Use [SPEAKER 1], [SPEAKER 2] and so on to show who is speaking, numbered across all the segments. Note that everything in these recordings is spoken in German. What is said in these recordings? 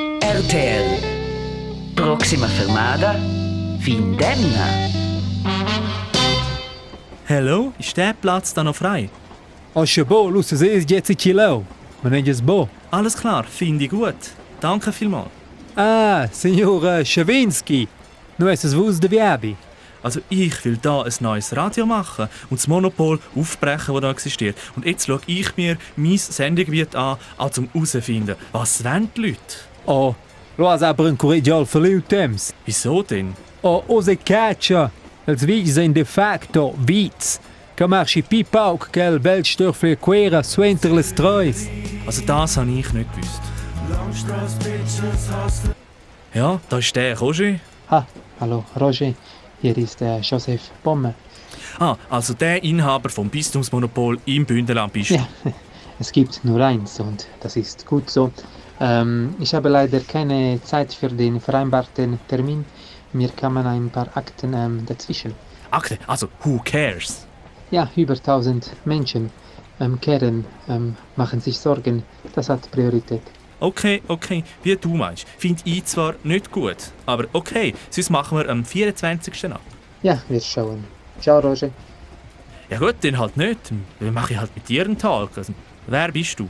[SPEAKER 1] RTL. Proxima Fermada, Findemna.
[SPEAKER 2] Hallo, ist der Platz da noch frei?
[SPEAKER 3] Als je bo, los, es ist jetzt in Chileo. Man nennt es bo.
[SPEAKER 2] Alles klar, finde ich gut. Danke vielmals.
[SPEAKER 3] Ah, Signor Schewinski. Nu es es wus de Werbi.
[SPEAKER 2] Also ich will da ein neues Radio machen und das Monopol aufbrechen, das da existiert. Und jetzt schaue ich mir mein Sendegebiet an, auch zum herausfinden, was wollen die Leute?
[SPEAKER 3] Oh, loas aber ein Corrigial verliert Temps.
[SPEAKER 2] Wieso denn?
[SPEAKER 3] Oh, ose Catcher. Als wiesen de facto Witz. Kamarchi Pipauk, gel Weltstörfle Quera, Swenterles Treus.
[SPEAKER 2] Also das habe ich nicht gewusst. Ja, da ist der, kommst du?
[SPEAKER 4] Ah, hallo, Roger. Hier ist der Josef Bommer.
[SPEAKER 2] Ah, also der Inhaber vom Bistumsmonopol im Bündnerland bist du.
[SPEAKER 4] Ja, es gibt nur eins und das ist gut so. Ähm, ich habe leider keine Zeit für den vereinbarten Termin. Mir kamen ein paar Akten ähm, dazwischen.
[SPEAKER 2] Akte, also who cares?
[SPEAKER 4] Ja, über 1000 Menschen ähm, kehren, ähm, machen sich Sorgen. Das hat Priorität.
[SPEAKER 2] Okay, okay, wie du meinst. Finde ich zwar nicht gut, aber okay, sonst machen wir am 24. ab.
[SPEAKER 4] Ja, wir schauen. Ciao, Roger.
[SPEAKER 2] Ja gut, dann halt nicht. Dann mache ich halt mit dir einen Tag. Also, wer bist du?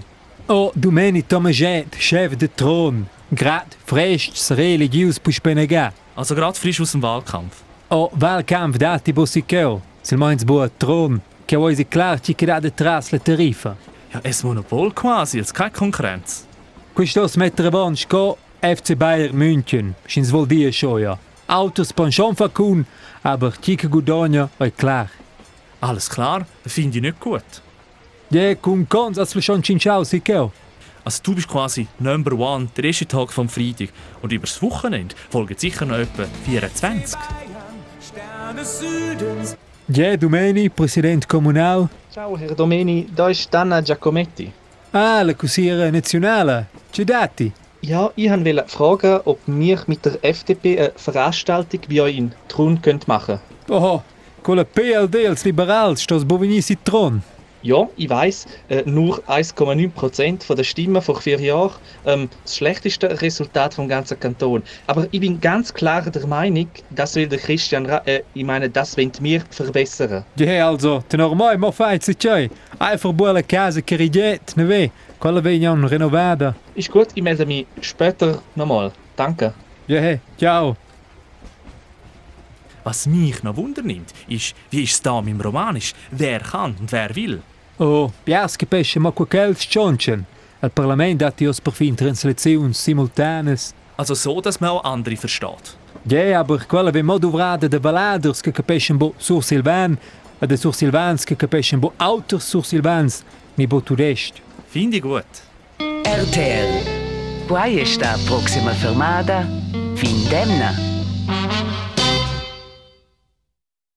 [SPEAKER 3] Oh, du meni Tomaget, Chef de Thron. Grad freschts religius puspenega.
[SPEAKER 2] Also gerade frisch aus dem Wahlkampf.
[SPEAKER 3] O Wahlkampf dati bossiceo. Sil moins boa Thron. Che vuoi siclarci che da de trasle tarifa.
[SPEAKER 2] Ja, ein Monopol quasi, jetzt keine Konkurrenz.
[SPEAKER 3] Questos mettere bonschko FC Bayern München. Schins wohl die schon ja. Autos pension facun, aber chica gudonia oi klar.
[SPEAKER 2] Alles klar, finde ich nicht gut.
[SPEAKER 3] De cum cons as schon cinchau siceo.
[SPEAKER 2] Also du bist quasi Number One, der erste Tag vom Freitag. Und übers Wochenende folgen sicher noch etwa 24.
[SPEAKER 3] De du meni Präsident Kommunal.
[SPEAKER 5] Ciao Herr Domeni, da ist Anna Giacometti.
[SPEAKER 3] Ah, la Cusiera Nazionale. Cedati.
[SPEAKER 5] Ja, ich wollte fragen, ob wir mit der FDP eine Veranstaltung bei euch in Trun könnt machen könnt.
[SPEAKER 3] Oh, con la PLD als liberal stos bovini citron.
[SPEAKER 5] Ja, ich weiss, äh, nur 1,9% von der Stimmen vor vier Jahren, ähm, das schlechteste Resultat vom ganzen Kanton. Aber ich bin ganz klar der Meinung, das will der Christian, Ra äh, ich meine, das wollen wir verbessern.
[SPEAKER 3] Je also, te normai mo fai se c'hai. Einfach buona casa che riget, ne ve. Quella vegnon renovada.
[SPEAKER 5] Ist gut, ich melde mich später nochmal. Danke.
[SPEAKER 3] Je, ciao.
[SPEAKER 2] Was mich noch wundernimmt, ist, wie ist es da mit dem Romanisch? Wer kann und wer will?
[SPEAKER 3] Oh, piasche pesce ma quel schonchen. Al Parlament hat die per fin translazions simultanes.
[SPEAKER 2] Also so, dass man auch andere versteht.
[SPEAKER 3] Je, aber quella ve modu vrade de baladers che capiscen bo sur Silvan, e de sur Silvans che capiscen bo auter sur Silvans, ni bo tudest.
[SPEAKER 2] Finde ich gut.
[SPEAKER 1] RTL. Quae sta Proxima Fermada, Findemna.